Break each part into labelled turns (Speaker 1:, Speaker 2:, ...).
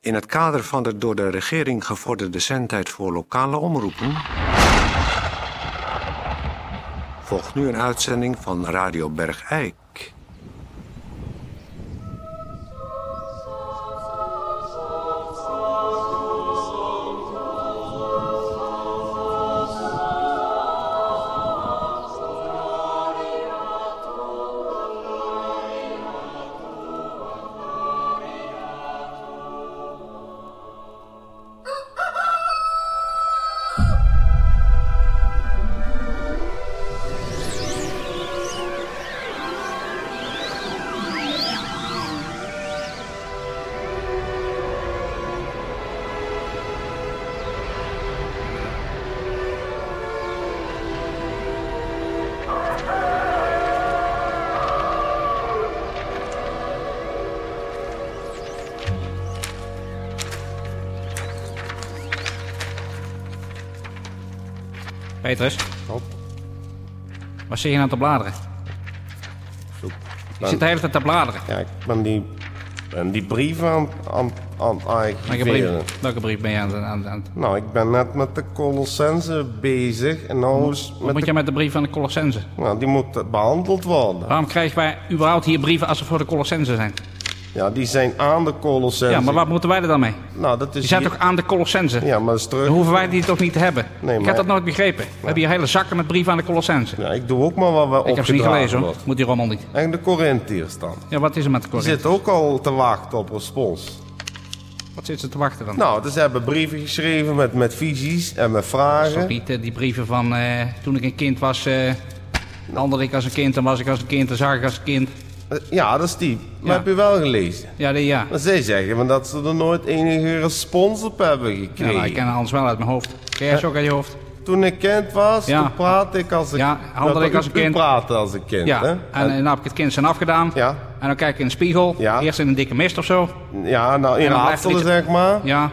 Speaker 1: In het kader van de door de regering gevorderde zendtijd voor lokale omroepen. volgt nu een uitzending van Radio Bergijk.
Speaker 2: Petrus. Wat zit je nou te bladeren?
Speaker 3: Zoek.
Speaker 2: Je zit de hele tijd te bladeren.
Speaker 3: Ja, ik ben die, ben die brief aan aan, aan het
Speaker 2: Welke
Speaker 3: archiveren.
Speaker 2: brief, welke brief ben je aan het... Aan, aan,
Speaker 3: Nou, ik ben net met de Colossense bezig en nou is
Speaker 2: wat
Speaker 3: met
Speaker 2: moet
Speaker 3: de-
Speaker 2: je met de brief van de Colossense?
Speaker 3: nou, die moet behandeld worden.
Speaker 2: Waarom krijgen wij überhaupt hier brieven als ze voor de Colossense zijn?
Speaker 3: Ja, die zijn aan de Colossense.
Speaker 2: Ja, maar wat moeten wij er dan mee?
Speaker 3: Nou, dat is
Speaker 2: Die zijn
Speaker 3: hier-
Speaker 2: toch aan de Colossense?
Speaker 3: Ja, maar dat is terug.
Speaker 2: Dan hoeven wij die toch niet te hebben?
Speaker 3: Nee,
Speaker 2: Ik
Speaker 3: maar-
Speaker 2: heb dat nooit begrepen. We hebben hier hele zakken met brieven aan de Colossense.
Speaker 3: Ja, ik doe ook maar wat we
Speaker 2: Ik heb ze niet gelezen hoor.
Speaker 3: wordt.
Speaker 2: Moet die rommel niet.
Speaker 3: En de Corinthiërs dan.
Speaker 2: Ja, wat is er met de
Speaker 3: Die
Speaker 2: Corinthe?
Speaker 3: zitten ook al te wachten op respons.
Speaker 2: Wat zit ze te wachten dan?
Speaker 3: Nou, dus ze hebben brieven geschreven met, met visies en met
Speaker 2: Dat is toch
Speaker 3: vragen.
Speaker 2: niet eh, die brieven van eh, toen ik een kind was. eh handelde ik als een kind, dan was ik als een kind, dan zag ik als een kind.
Speaker 3: Ja, dat is die. Maar
Speaker 2: Ja.
Speaker 3: heb je wel gelezen?
Speaker 2: Ja, die, ja.
Speaker 3: Maar zij zeggen van dat ze er nooit enige respons op hebben
Speaker 2: ja nou,
Speaker 3: gekregen.
Speaker 2: ik ken Hans wel uit mijn hoofd. Ken jij ze ook uit je hoofd?
Speaker 3: Toen ik kind was,
Speaker 2: Ja.
Speaker 3: toen praatte ik als een
Speaker 2: Ja, handelde
Speaker 3: Nou,
Speaker 2: ik als een
Speaker 3: u- u
Speaker 2: kind.
Speaker 3: praatte als een kind,
Speaker 2: Ja.
Speaker 3: hè?
Speaker 2: En, eh, dan heb ik het kind zijn afgedaan.
Speaker 3: Ja.
Speaker 2: En dan kijk ik in de spiegel.
Speaker 3: Ja.
Speaker 2: Eerst in een dikke mist of zo.
Speaker 3: ja, nou, in
Speaker 2: En dan blijft
Speaker 3: raadselen,
Speaker 2: het niet-
Speaker 3: zeg maar.
Speaker 2: Ja.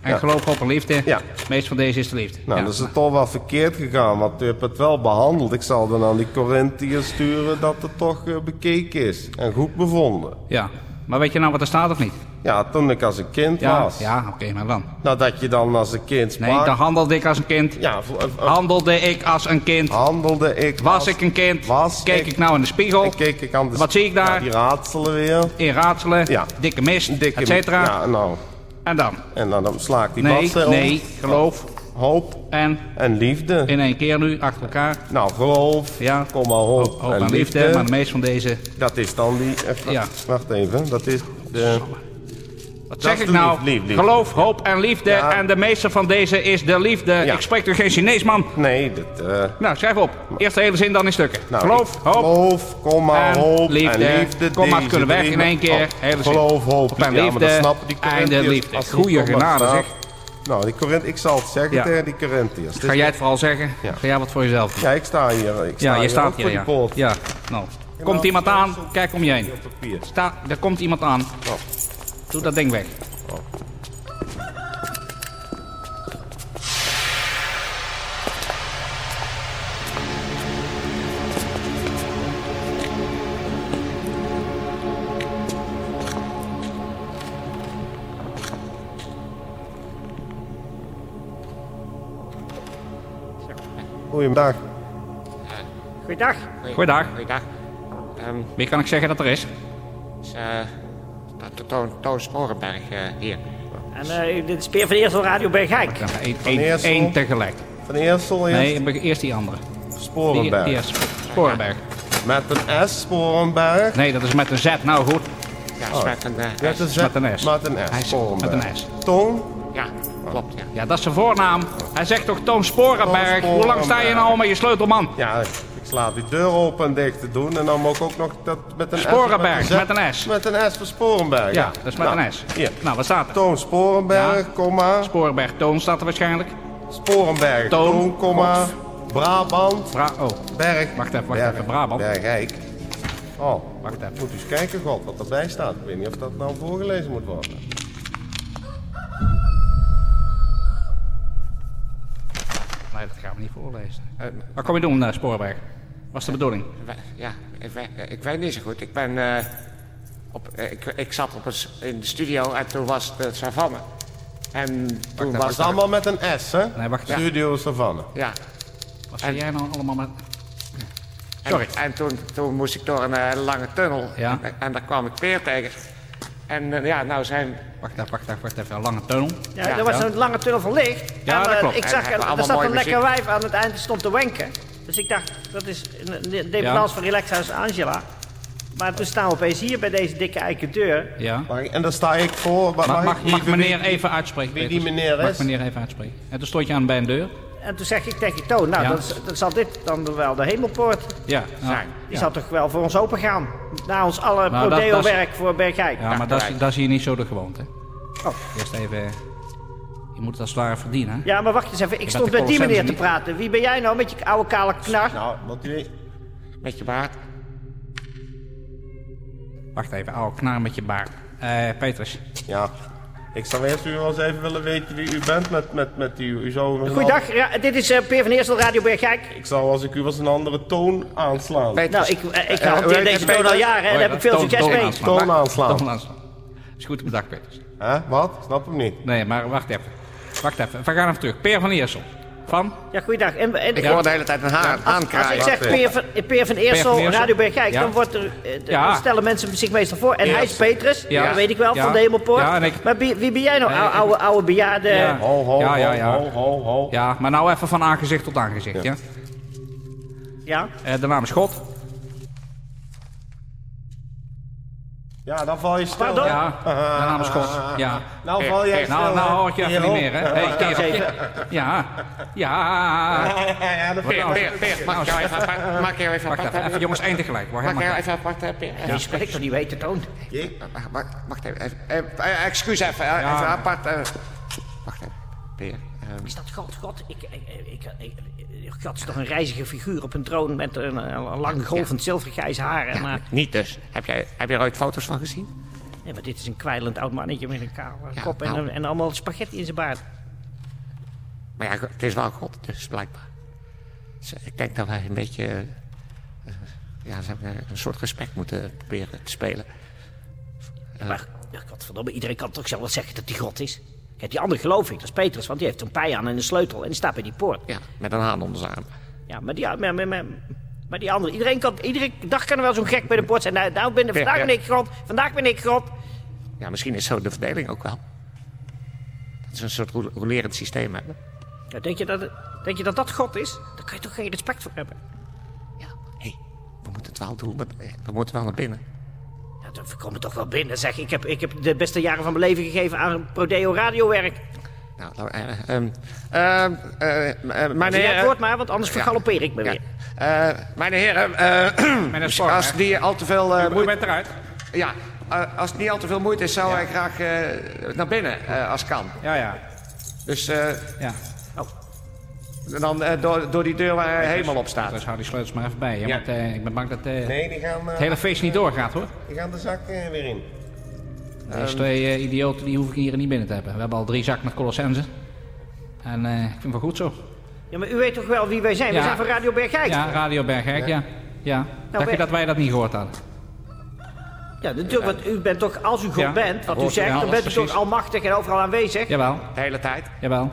Speaker 2: En
Speaker 3: Ja.
Speaker 2: geloof op een liefde.
Speaker 3: Ja.
Speaker 2: Het meest van deze is de liefde.
Speaker 3: Nou,
Speaker 2: ja.
Speaker 3: dat is het toch wel verkeerd gegaan, want u hebt het wel behandeld. Ik zal dan aan die Corinthiërs sturen dat het toch eh, bekeken is en goed bevonden.
Speaker 2: ja. Maar weet je nou wat er staat of niet?
Speaker 3: Ja, toen ik als een kind
Speaker 2: Ja,
Speaker 3: was.
Speaker 2: ja oké, maar dan.
Speaker 3: Nou, dat je dan als een kind
Speaker 2: Nee,
Speaker 3: sprak.
Speaker 2: dan handelde ik als een kind.
Speaker 3: Ja, v- eh, eh,
Speaker 2: Handelde ik als een kind.
Speaker 3: handelde ik.
Speaker 2: Was ik een kind?
Speaker 3: Was
Speaker 2: Keek
Speaker 3: ik-
Speaker 2: ik nou in de spiegel?
Speaker 3: En keek ik aan de...
Speaker 2: Wat zie ik daar?
Speaker 3: Ja, die raadselen weer.
Speaker 2: In raadselen,
Speaker 3: Ja.
Speaker 2: dikke mist,
Speaker 3: Dikke...
Speaker 2: et cetera.
Speaker 3: Ja, nou.
Speaker 2: En dan?
Speaker 3: En dan, dan sla ik die
Speaker 2: Nee,
Speaker 3: bladzij om.
Speaker 2: nee, geloof
Speaker 3: Hoop
Speaker 2: en
Speaker 3: en liefde.
Speaker 2: in één keer nu, achter elkaar.
Speaker 3: Nou, geloof,
Speaker 2: Ja.
Speaker 3: kom maar hoop,
Speaker 2: Hoop en liefde, maar de meest van deze...
Speaker 3: Dat is dan die... eh,
Speaker 2: Ja.
Speaker 3: Wacht even, dat is de...
Speaker 2: Wat
Speaker 3: Dat
Speaker 2: zeg
Speaker 3: is
Speaker 2: ik
Speaker 3: de
Speaker 2: nou?
Speaker 3: lief- lief- liefde.
Speaker 2: Geloof, hoop en liefde.
Speaker 3: Ja.
Speaker 2: En de meeste van deze is de liefde. Ik spreek toch geen Chinees, man?
Speaker 3: Nee, dat... eh,
Speaker 2: Nou, schrijf op. Eerst de hele zin, dan in stukken.
Speaker 3: nou,
Speaker 2: geloof,
Speaker 3: ik-
Speaker 2: hoop
Speaker 3: Geloof, kom maar
Speaker 2: en
Speaker 3: hoop
Speaker 2: liefde.
Speaker 3: en liefde.
Speaker 2: Kom maar,
Speaker 3: deze
Speaker 2: kunnen weg
Speaker 3: drie-
Speaker 2: in één keer.
Speaker 3: Oh,
Speaker 2: Hele zin.
Speaker 3: geloof, hoop,
Speaker 2: Op en
Speaker 3: ja, maar
Speaker 2: liefde,
Speaker 3: dat snappen die
Speaker 2: einde
Speaker 3: Corinthiërs
Speaker 2: liefde.
Speaker 3: als die
Speaker 2: Goeie
Speaker 3: kom maar
Speaker 2: genade,
Speaker 3: staat.
Speaker 2: zeg.
Speaker 3: Nou, die Corint, ik zal het zeggen
Speaker 2: Ja.
Speaker 3: tegen die Corinthiërs.
Speaker 2: ga jij het vooral zeggen.
Speaker 3: Ja.
Speaker 2: Ga jij wat voor jezelf doen.
Speaker 3: Ja, ik sta hier. Ik sta
Speaker 2: Ja, je
Speaker 3: hier
Speaker 2: staat
Speaker 3: ook
Speaker 2: hier,
Speaker 3: voor
Speaker 2: ja.
Speaker 3: die poort.
Speaker 2: Ja, nou. Komt iemand aan, kijk om je heen.
Speaker 3: Op papier.
Speaker 2: Sta, er komt iemand aan.
Speaker 3: Oh.
Speaker 2: Doe dat ding weg.
Speaker 3: Goedemiddag.
Speaker 4: Goeiedag.
Speaker 2: Goeiedag.
Speaker 4: Goeiedag. Ehm,
Speaker 2: Wie kan ik zeggen dat er is?
Speaker 4: is, eh, dat is Toon, Toon Sporenberg eh, hier.
Speaker 5: En eh, dit is Peer van Eersel Radio Bergijk.
Speaker 2: Ja, één, één,
Speaker 3: Eersel.
Speaker 2: één tegelijk.
Speaker 3: Van Eersel eerst
Speaker 2: Nee, be- eerst die andere. Die,
Speaker 3: Sporenberg.
Speaker 2: die is Sp- Sporenberg.
Speaker 3: Met een S, Sporenberg.
Speaker 2: Nee, dat is met een Z. Nou goed,
Speaker 4: Ja, is met een, eh,
Speaker 3: Met een, Z,
Speaker 2: Met een S.
Speaker 3: Met een S,
Speaker 2: Hij is-
Speaker 3: Sporenberg.
Speaker 2: met een S.
Speaker 3: Toon?
Speaker 4: ja, klopt, ja.
Speaker 2: ja, dat is zijn voornaam. Hij zegt toch Toon Sporenberg.
Speaker 3: Toon
Speaker 2: Hoe lang sta je nou al met je sleutelman?
Speaker 3: Ja, ik sla die deur open en dicht te doen. En dan moet ik ook nog dat met een
Speaker 2: Sporenberg,
Speaker 3: S. met
Speaker 2: met een S.
Speaker 3: Met een S voor Sporenberg.
Speaker 2: Ja, dat is met
Speaker 3: Nou,
Speaker 2: een S.
Speaker 3: Hier.
Speaker 2: Nou, wat staat er?
Speaker 3: Toon Sporenberg,
Speaker 2: Ja.
Speaker 3: komma.
Speaker 2: Sporenberg Toon staat er waarschijnlijk.
Speaker 3: Sporenberg,
Speaker 2: Toon.
Speaker 3: Toon, komma. Brabant,
Speaker 2: Bra oh,
Speaker 3: Berg.
Speaker 2: Wacht even, wacht
Speaker 3: Berg-
Speaker 2: even, Brabant.
Speaker 3: Bergijk. Oh,
Speaker 2: wacht even.
Speaker 3: moet eens kijken, God, wat erbij staat. Ik weet niet of dat nou voorgelezen moet worden.
Speaker 2: Nee, dat gaan we niet voorlezen. Wat kom je doen, eh, Sporenberg? Wat is de bedoeling?
Speaker 4: We- ja, ik, we- eh, ik weet niet zo goed. Ik ben eh, Op, eh, ik, ik zat op een, s- in de studio en toen was de savanne. En toen
Speaker 3: Dat
Speaker 4: was
Speaker 3: is allemaal met een S, hè?
Speaker 2: Nee, wacht.
Speaker 3: Studio Savanne.
Speaker 4: Ja.
Speaker 2: Wat zie jij nou allemaal met...
Speaker 4: En,
Speaker 2: Sorry.
Speaker 4: En toen, toen moest ik door een eh, lange tunnel.
Speaker 2: Ja.
Speaker 4: En, en daar kwam ik weer tegen. En eh, ja, nou zijn...
Speaker 2: Wacht even, wacht even, wacht even. Een lange tunnel.
Speaker 5: Ja, er was
Speaker 2: ja.
Speaker 5: zo'n lange tunnel van licht.
Speaker 2: Ja,
Speaker 5: en, eh,
Speaker 2: dat klopt.
Speaker 5: Ik
Speaker 4: En
Speaker 5: zag,
Speaker 4: hebben we
Speaker 5: er
Speaker 4: allemaal
Speaker 5: zat
Speaker 4: mooie
Speaker 5: een lekker
Speaker 4: muziek.
Speaker 5: wijf aan het eind die stond te wenken. Dus ik dacht, dat is een een dependance van Relaxhuis Angela. Maar toen staan we opeens hier bij deze dikke eiken deur.
Speaker 2: Ja.
Speaker 3: Mag ik- en daar sta ik voor. Wat,
Speaker 2: Mag,
Speaker 3: mag,
Speaker 2: mag,
Speaker 3: ik
Speaker 2: mag
Speaker 3: even-
Speaker 2: meneer even uitspreken?
Speaker 3: wie die
Speaker 2: Peters?
Speaker 3: meneer
Speaker 2: Mag
Speaker 3: is?
Speaker 2: meneer even uitspreken. En toen stond je aan bij een deur.
Speaker 5: En toen zeg ik tegen Toon, nou,
Speaker 2: Ja.
Speaker 5: dan, z- dan zal dit dan wel de hemelpoort.
Speaker 2: Ja. Nou,
Speaker 5: Die
Speaker 2: ja.
Speaker 5: zal toch wel voor ons open gaan. Na ons alle
Speaker 2: Nou, dat-
Speaker 5: prodeo-werk voor Bergijk.
Speaker 2: Ja, maar dat is, dat is hier niet zo de gewoonte.
Speaker 5: Oh.
Speaker 2: Eerst even... Je moet het als het ware verdienen. hè?
Speaker 5: Ja, maar wacht eens even. Ik stond
Speaker 2: de
Speaker 5: met die meneer te
Speaker 2: Colossense
Speaker 5: praten. Wie ben jij nou met je oude kale knar?
Speaker 3: Nou, wat u...
Speaker 4: Met je baard.
Speaker 2: Wacht even, oude knar met je baard. Eh, Petrus.
Speaker 3: Ja. Ik zou eerst u wel eens even willen weten wie u bent met, met, met die... U zou wel-
Speaker 5: Goeiedag, ja, dit is eh Peer van Eersel, Radio Bergijk.
Speaker 3: Ik zou als ik u was een andere toon aanslaan.
Speaker 4: Peter,
Speaker 5: Nou, ik, eh, ik
Speaker 4: Eh, hoe
Speaker 5: hanteer
Speaker 4: heet
Speaker 5: deze
Speaker 4: het,
Speaker 5: toon al
Speaker 4: Peter?
Speaker 5: jaren en daar heb ik veel
Speaker 2: Oh Toon-
Speaker 5: succes
Speaker 2: toon aanslaan.
Speaker 5: mee.
Speaker 3: Toon aanslaan.
Speaker 2: Toon aanslaan. Is goed, bedankt Petrus.
Speaker 3: Hè? Wat? Snap hem niet.
Speaker 2: Nee, maar wacht even. Wacht even, we gaan even terug. Peer van Eersel. Van?
Speaker 5: Ja, goeiedag. En, en,
Speaker 4: ik hoor de hele tijd een haar
Speaker 5: als ik
Speaker 4: aankraaien.
Speaker 5: zeg Peer van, eh, Peer van
Speaker 2: Peer
Speaker 5: Eersel,
Speaker 2: van Eersel.
Speaker 5: Radio Bergijk,
Speaker 2: Ja.
Speaker 5: dan wordt er, eh, d-
Speaker 2: Ja.
Speaker 5: dan stellen mensen zich meestal voor. En hij is Petrus,
Speaker 2: Ja.
Speaker 5: dat weet ik wel,
Speaker 2: Ja.
Speaker 5: van de Hemelpoort.
Speaker 2: Ja, en ik-
Speaker 5: Maar wie, wie ben jij nou,
Speaker 2: Nee,
Speaker 5: oude,
Speaker 2: ik-
Speaker 5: oude, oude bejaarde?
Speaker 2: Ja.
Speaker 3: Ho, ho,
Speaker 2: Ja, ja,
Speaker 3: ho,
Speaker 2: ja.
Speaker 3: ho, ho, ho.
Speaker 2: Ja, maar nou even van aangezicht tot aangezicht, ja?
Speaker 5: Ja.
Speaker 2: Eh, de naam is God.
Speaker 3: Ja, dan val je stil.
Speaker 5: Pardon?
Speaker 3: hè?
Speaker 2: Ja, de naam is God. Ja.
Speaker 3: Nou val jij stil.
Speaker 2: Nou, nou
Speaker 3: hè?
Speaker 2: hoor ik je even niet meer, hè? Hey,
Speaker 5: eens
Speaker 2: kerel. Ja. Ja.
Speaker 3: Ja, dat vind ik
Speaker 4: Peer, Peer, Peer, mag ik jou even apart, mag ik jou even
Speaker 2: Wacht
Speaker 4: apart
Speaker 2: even, even,
Speaker 4: hebben?
Speaker 2: jongens, eind tegelijk. Wacht,
Speaker 4: Mag ik jou
Speaker 2: helemaal
Speaker 4: even apart eh, hebben, Peer?
Speaker 5: Die spreekt toch niet weten, Toon?
Speaker 3: Ik-
Speaker 4: Wacht, wacht, wacht even. even, eh, eh, excuus even, eh,
Speaker 2: Ja.
Speaker 4: even apart. eh. wacht even. Peer. ehm,
Speaker 5: Is dat God? God, ik, ik, ik, ik- ik- God is toch een reizige figuur op een troon met een, eh, lang golvend zilvergrijs haar. En, eh,
Speaker 4: niet dus. Heb jij, heb jij er ooit foto's van gezien?
Speaker 5: nee, maar dit is een kwijlend oud mannetje met een kale
Speaker 4: Ja,
Speaker 5: kop en,
Speaker 4: nou.
Speaker 5: een- en allemaal spaghetti in zijn baard.
Speaker 4: Maar ja, het is wel God, dus blijkbaar. Dus ik denk dat wij een beetje eh, eh, ja, zeg maar, een soort respect moeten proberen te spelen.
Speaker 5: Maar, ja, godverdomme, iedereen kan toch zelf zeggen dat die God is? Kijk, die andere geloof ik, dat is Petrus, want die heeft een pij aan en een sleutel en die staat bij die poort.
Speaker 4: Ja, met een haan onder zijn arm.
Speaker 5: Ja, maar die, maar, maar, maar, maar die andere, iedereen kan, iedere dag kan er wel zo'n gek bij de poort zijn. Nou, nou ben, vandaag
Speaker 4: ja.
Speaker 5: ben ik God, vandaag ben ik God.
Speaker 4: Ja, misschien is zo de verdeling ook wel. Dat ze een soort roel- rolerend systeem hebben.
Speaker 5: Ja, denk, je dat, het- denk je dat dat God is? Daar kan je toch geen respect voor hebben?
Speaker 4: Ja, hé, we moeten het wel doen. want, eh, We moeten wel naar binnen.
Speaker 5: Ja, dan we komen toch wel binnen, zeg. Ik heb, ik heb de beste jaren van mijn leven gegeven aan Prodeo radiowerk.
Speaker 4: Nou, nou, eh, ehm, ehm, eh, m- eh, mijn
Speaker 5: Zeg jij het
Speaker 4: heren...
Speaker 5: woord maar, want anders vergalopeer ik me
Speaker 4: Ja.
Speaker 5: weer.
Speaker 4: Eh, mijn heren, eh,
Speaker 2: Meneer Storm,
Speaker 4: als
Speaker 2: hè?
Speaker 4: die al te veel... eh,
Speaker 2: Mooi bent eruit.
Speaker 4: ja, eh, als het niet al te veel moeite is, zou hij graag eh, naar binnen, eh, als kan.
Speaker 2: Ja, ja.
Speaker 4: Dus eh,
Speaker 2: Ja.
Speaker 4: dan eh, door, door die deur waar hij helemaal op staat.
Speaker 2: Dus hou die sleutels maar even bij, hè, want eh, ik ben bang dat eh,
Speaker 3: Nee, die gaan, eh,
Speaker 2: het hele feest niet doorgaat, hoor.
Speaker 3: die gaan de zak eh, weer in.
Speaker 2: Deze twee eh, idioten die hoef ik hier niet binnen te hebben. We hebben al drie zakken met Colossense. En eh, ik vind het wel goed zo.
Speaker 5: Ja, maar u weet toch wel wie wij zijn? We
Speaker 2: Ja.
Speaker 5: zijn van Radio Bergijk.
Speaker 2: Ja, Radio Bergijk, ja. ja. Dacht je
Speaker 5: Berg-
Speaker 2: dat wij dat niet gehoord hadden?
Speaker 5: Ja, natuurlijk, want u bent toch, als u God
Speaker 2: Ja.
Speaker 5: bent, wat u
Speaker 2: Hoort u
Speaker 5: zegt,
Speaker 2: wel,
Speaker 5: dan bent u
Speaker 2: precies.
Speaker 5: toch almachtig en overal aanwezig.
Speaker 2: Jawel,
Speaker 4: De hele tijd.
Speaker 2: jawel.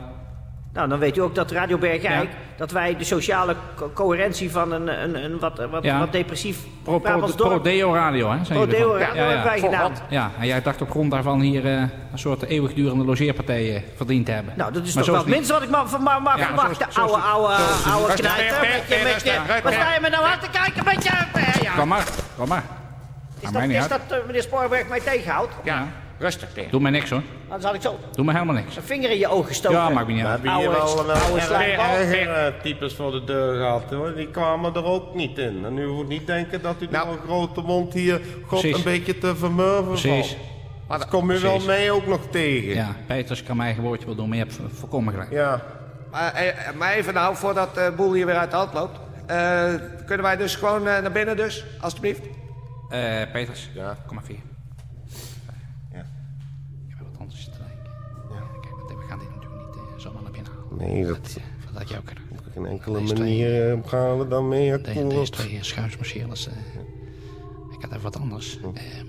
Speaker 5: Nou, dan weet u ook dat Radio Bergijk,
Speaker 2: Ja.
Speaker 5: dat wij de sociale co- coherentie van een, een, een wat, wat,
Speaker 2: Ja.
Speaker 5: wat depressief
Speaker 2: Pro, pro,
Speaker 5: Brabants
Speaker 2: pro,
Speaker 5: dorp,
Speaker 2: Deo Radio, hè? zijn jullie
Speaker 5: Prodeo
Speaker 2: van.
Speaker 5: radio
Speaker 2: ja,
Speaker 5: hebben wij
Speaker 2: ja.
Speaker 4: Voor
Speaker 5: gedaan.
Speaker 4: wat?
Speaker 2: Ja, en jij dacht op grond daarvan hier eh, een soort eeuwigdurende logeerpartij eh, verdiend te hebben.
Speaker 5: Nou, dat is
Speaker 2: Maar
Speaker 5: toch
Speaker 2: zo
Speaker 5: wel het
Speaker 2: niet.
Speaker 5: minste wat ik ma- van ma- mag
Speaker 2: Ja, maar zo is-
Speaker 5: verwachten.
Speaker 2: zo is
Speaker 5: Oude,
Speaker 2: het-
Speaker 5: oude,
Speaker 2: zo is het
Speaker 5: oude
Speaker 2: niet.
Speaker 5: knijter. Met
Speaker 4: Rustig,
Speaker 5: je,
Speaker 4: rustig,
Speaker 5: met je,
Speaker 4: rustig.
Speaker 5: wat sta je me nou aan te kijken met je... eh, Ja.
Speaker 2: Kom maar, kom maar.
Speaker 5: Is
Speaker 2: Aan
Speaker 5: dat,
Speaker 2: mij niet
Speaker 5: is
Speaker 2: uit.
Speaker 5: dat eh, meneer Spoorberg mij tegenhoudt?
Speaker 4: Ja, rustig, Peer.
Speaker 2: Doe mij niks hoor.
Speaker 5: Anders had ik zo
Speaker 2: Doe me helemaal niks.
Speaker 5: een vinger in je ogen gestoken.
Speaker 2: Ja, maakt me niet
Speaker 3: We
Speaker 2: uit.
Speaker 3: hebben hier
Speaker 5: Oude-
Speaker 3: wel, wel
Speaker 5: oude
Speaker 3: erg-
Speaker 5: slijmbal.
Speaker 3: ergere types voor de deur gehad hoor. Die kwamen er ook niet in. En u moet niet denken dat u
Speaker 4: Nou.
Speaker 3: nou een grote mond hier God
Speaker 2: Precies.
Speaker 3: een beetje te vermurven
Speaker 2: Precies.
Speaker 3: valt. Maar dat kom u wel
Speaker 2: Precies.
Speaker 3: mee ook nog tegen.
Speaker 2: Ja, Peters kan mij eigen woordje wel doen, maar je hebt vo- voorkomen gelijk.
Speaker 3: Ja.
Speaker 4: Maar, eh, eh, maar even nou, voordat de boel hier weer uit de hand loopt. eh, kunnen wij dus gewoon eh, naar binnen dus, alstublieft?
Speaker 2: Eh, Peters,
Speaker 3: Ja.
Speaker 2: kom maar vier.
Speaker 3: Ja.
Speaker 2: Ik heb wat anders te denken. Ja. Kijk, want we gaan dit natuurlijk niet eh, zomaar naar binnen halen.
Speaker 3: Nee, dat
Speaker 2: Ja, dat had je ook kunnen.
Speaker 3: op geen enkele manier eh, gaan we dan mee
Speaker 2: De, deze
Speaker 3: akkoord.
Speaker 2: eh, twee schuimsmachines. eh ik had even wat anders. Ehm,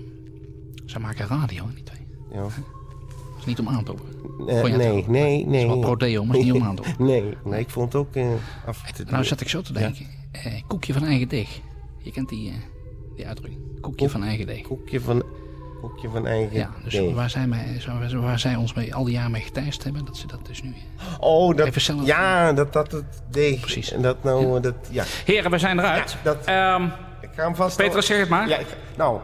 Speaker 2: Ze maken radio, hè, die twee.
Speaker 3: Ja.
Speaker 2: Dat is niet om aan te horen.
Speaker 3: Eh,
Speaker 2: Vond je het
Speaker 3: nee,
Speaker 2: wel?
Speaker 3: nee,
Speaker 2: Het
Speaker 3: nee.
Speaker 2: is wel prodeo, maar het is niet om aan te horen.
Speaker 3: Nee, nee, ik vond het ook eh, af te
Speaker 2: Nou zat ik zo te denken. Eh, koekje van eigen deeg. Je kent die, eh, die uitdrukking. Koekje van eigen deeg.
Speaker 3: Koekje van, koekje van eigen
Speaker 2: Ja, dus
Speaker 3: deeg.
Speaker 2: waar zij, mij, zo- waar, zij ons mee, al die jaren mee geteisterd hebben, dat ze dat dus nu... eh.
Speaker 3: Oh, dat,
Speaker 2: Even zelf-
Speaker 3: ja, dat dat het deeg.
Speaker 2: Precies.
Speaker 3: En dat nou, eh, dat, ja.
Speaker 2: Heren, we zijn eruit.
Speaker 3: Ja, dat-
Speaker 2: Ehm,
Speaker 3: Ik ga hem vast...
Speaker 2: Petra, zeg het maar.
Speaker 3: Ja, ik, nou,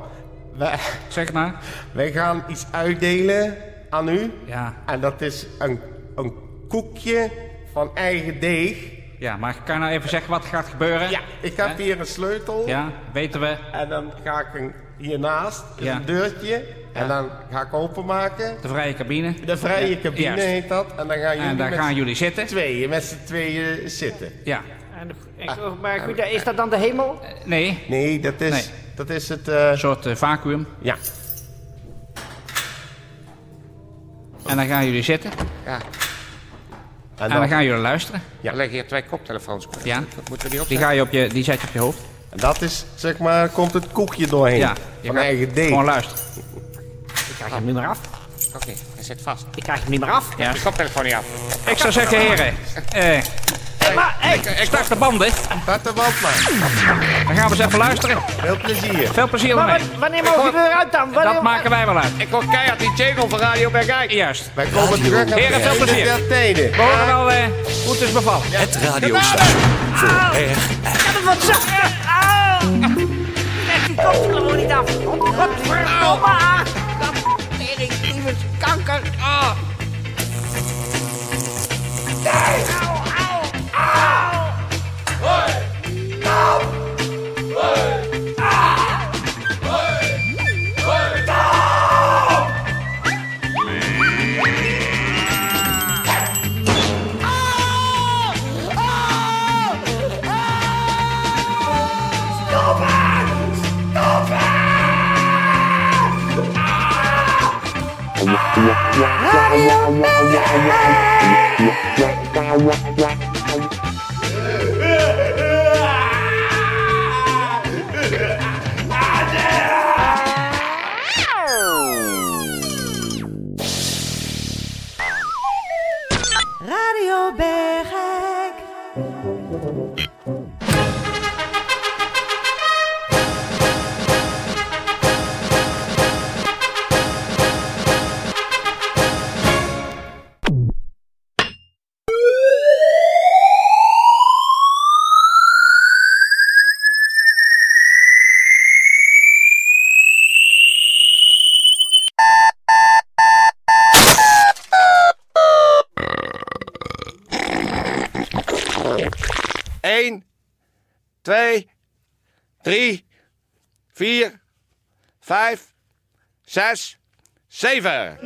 Speaker 3: wij,
Speaker 2: zeg het maar.
Speaker 3: wij gaan iets uitdelen aan u.
Speaker 2: Ja,
Speaker 3: En dat is een, een koekje van eigen deeg.
Speaker 2: ja, maar kan je nou even zeggen wat er gaat gebeuren?
Speaker 3: Ja, ik heb
Speaker 2: Hè?
Speaker 3: hier een sleutel.
Speaker 2: Ja, weten we.
Speaker 3: En dan ga ik een, hiernaast, is
Speaker 2: Ja.
Speaker 3: een deurtje. En dan ga ik openmaken.
Speaker 2: De vrije cabine.
Speaker 3: De vrije
Speaker 2: Ja,
Speaker 3: cabine
Speaker 2: juist.
Speaker 3: heet dat. En dan gaan jullie
Speaker 2: En daar
Speaker 3: met
Speaker 2: gaan
Speaker 3: z'n
Speaker 2: jullie zitten.
Speaker 3: tweeën, met z'n tweeën zitten.
Speaker 2: Ja.
Speaker 5: En, en- maar goed, is dat dan de hemel?
Speaker 2: Eh, Nee,
Speaker 3: Nee, dat is,
Speaker 2: Nee.
Speaker 3: Dat is het... eh,
Speaker 2: een soort eh, vacuüm.
Speaker 3: ja.
Speaker 2: En dan gaan jullie zitten.
Speaker 4: Ja,
Speaker 2: En dan gaan jullie luisteren.
Speaker 4: dan leg je hier twee koptelefoons op.
Speaker 2: Ja.
Speaker 4: Dat moeten we die
Speaker 2: Die,
Speaker 4: opzetten.
Speaker 2: ga je op je, die zet je op je hoofd.
Speaker 3: En dat is, zeg maar, komt het koekje doorheen.
Speaker 2: Ja. je
Speaker 3: van
Speaker 2: gaat
Speaker 3: eigen deeg.
Speaker 2: Gewoon luisteren.
Speaker 5: Ik krijg hem niet meer af.
Speaker 4: Oké, hij zit vast.
Speaker 5: Ik krijg hem niet meer af.
Speaker 4: Ja. Die koptelefoon niet af.
Speaker 2: Ik zou zeggen, heren. Eh,
Speaker 5: Hey, maar, hey,
Speaker 2: ik start de banden.
Speaker 3: Laat de wand maar.
Speaker 2: Dan gaan we eens even luisteren.
Speaker 3: Veel plezier.
Speaker 2: Veel plezier
Speaker 5: maar
Speaker 2: ermee.
Speaker 5: wa- wanneer mogen we eruit dan? Wanneer,
Speaker 2: Dat maken wij wel uit.
Speaker 4: Ik hoor keihard die jingle van Radio Bergijk.
Speaker 2: Juist.
Speaker 3: Wij komen terug aan
Speaker 2: Heren,
Speaker 3: het
Speaker 2: veel
Speaker 3: einde
Speaker 2: plezier.
Speaker 3: der tijden.
Speaker 2: We horen wel eh, hoe het is bevallen.
Speaker 6: Het radiostation voor erg
Speaker 5: Wat zo? Au! Ik krijg die koptelefoon niet af. Godverdomme! ah.
Speaker 7: Radio Bergijk.
Speaker 4: Eén, twee, drie, vier, vijf, zes, zeven.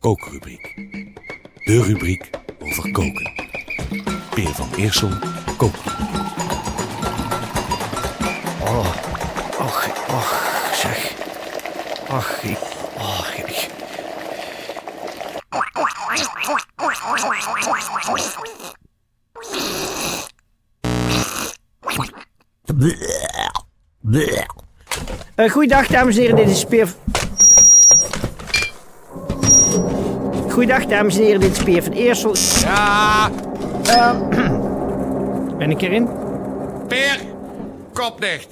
Speaker 6: kookrubriek. De rubriek over koken. Peer van Eersel kookt.
Speaker 1: Och, och, zeg. Ach, ik... Och, ik...
Speaker 5: Eh, goeiedag, dames en heren. Dit is Speer... Goeiedag, dames en heren. Dit is Speer van Eersel. Ehm, Ja! ben ik erin?
Speaker 4: Peer, kop dicht.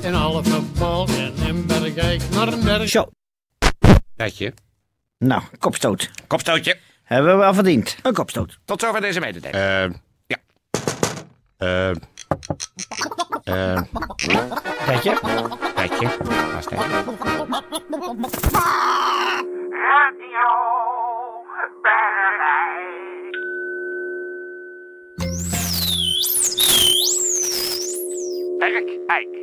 Speaker 8: In halve bal en in Bergijk naar Berg.
Speaker 5: Zo.
Speaker 4: Dat je.
Speaker 5: Nou, kopstoot.
Speaker 4: Kopstootje.
Speaker 5: Hebben we wel verdiend. Een kopstoot.
Speaker 4: Tot zover deze mededeling. ja. Ehm. Ehm.
Speaker 5: Dat je?
Speaker 4: Petje. Was dat?
Speaker 9: Bergijk.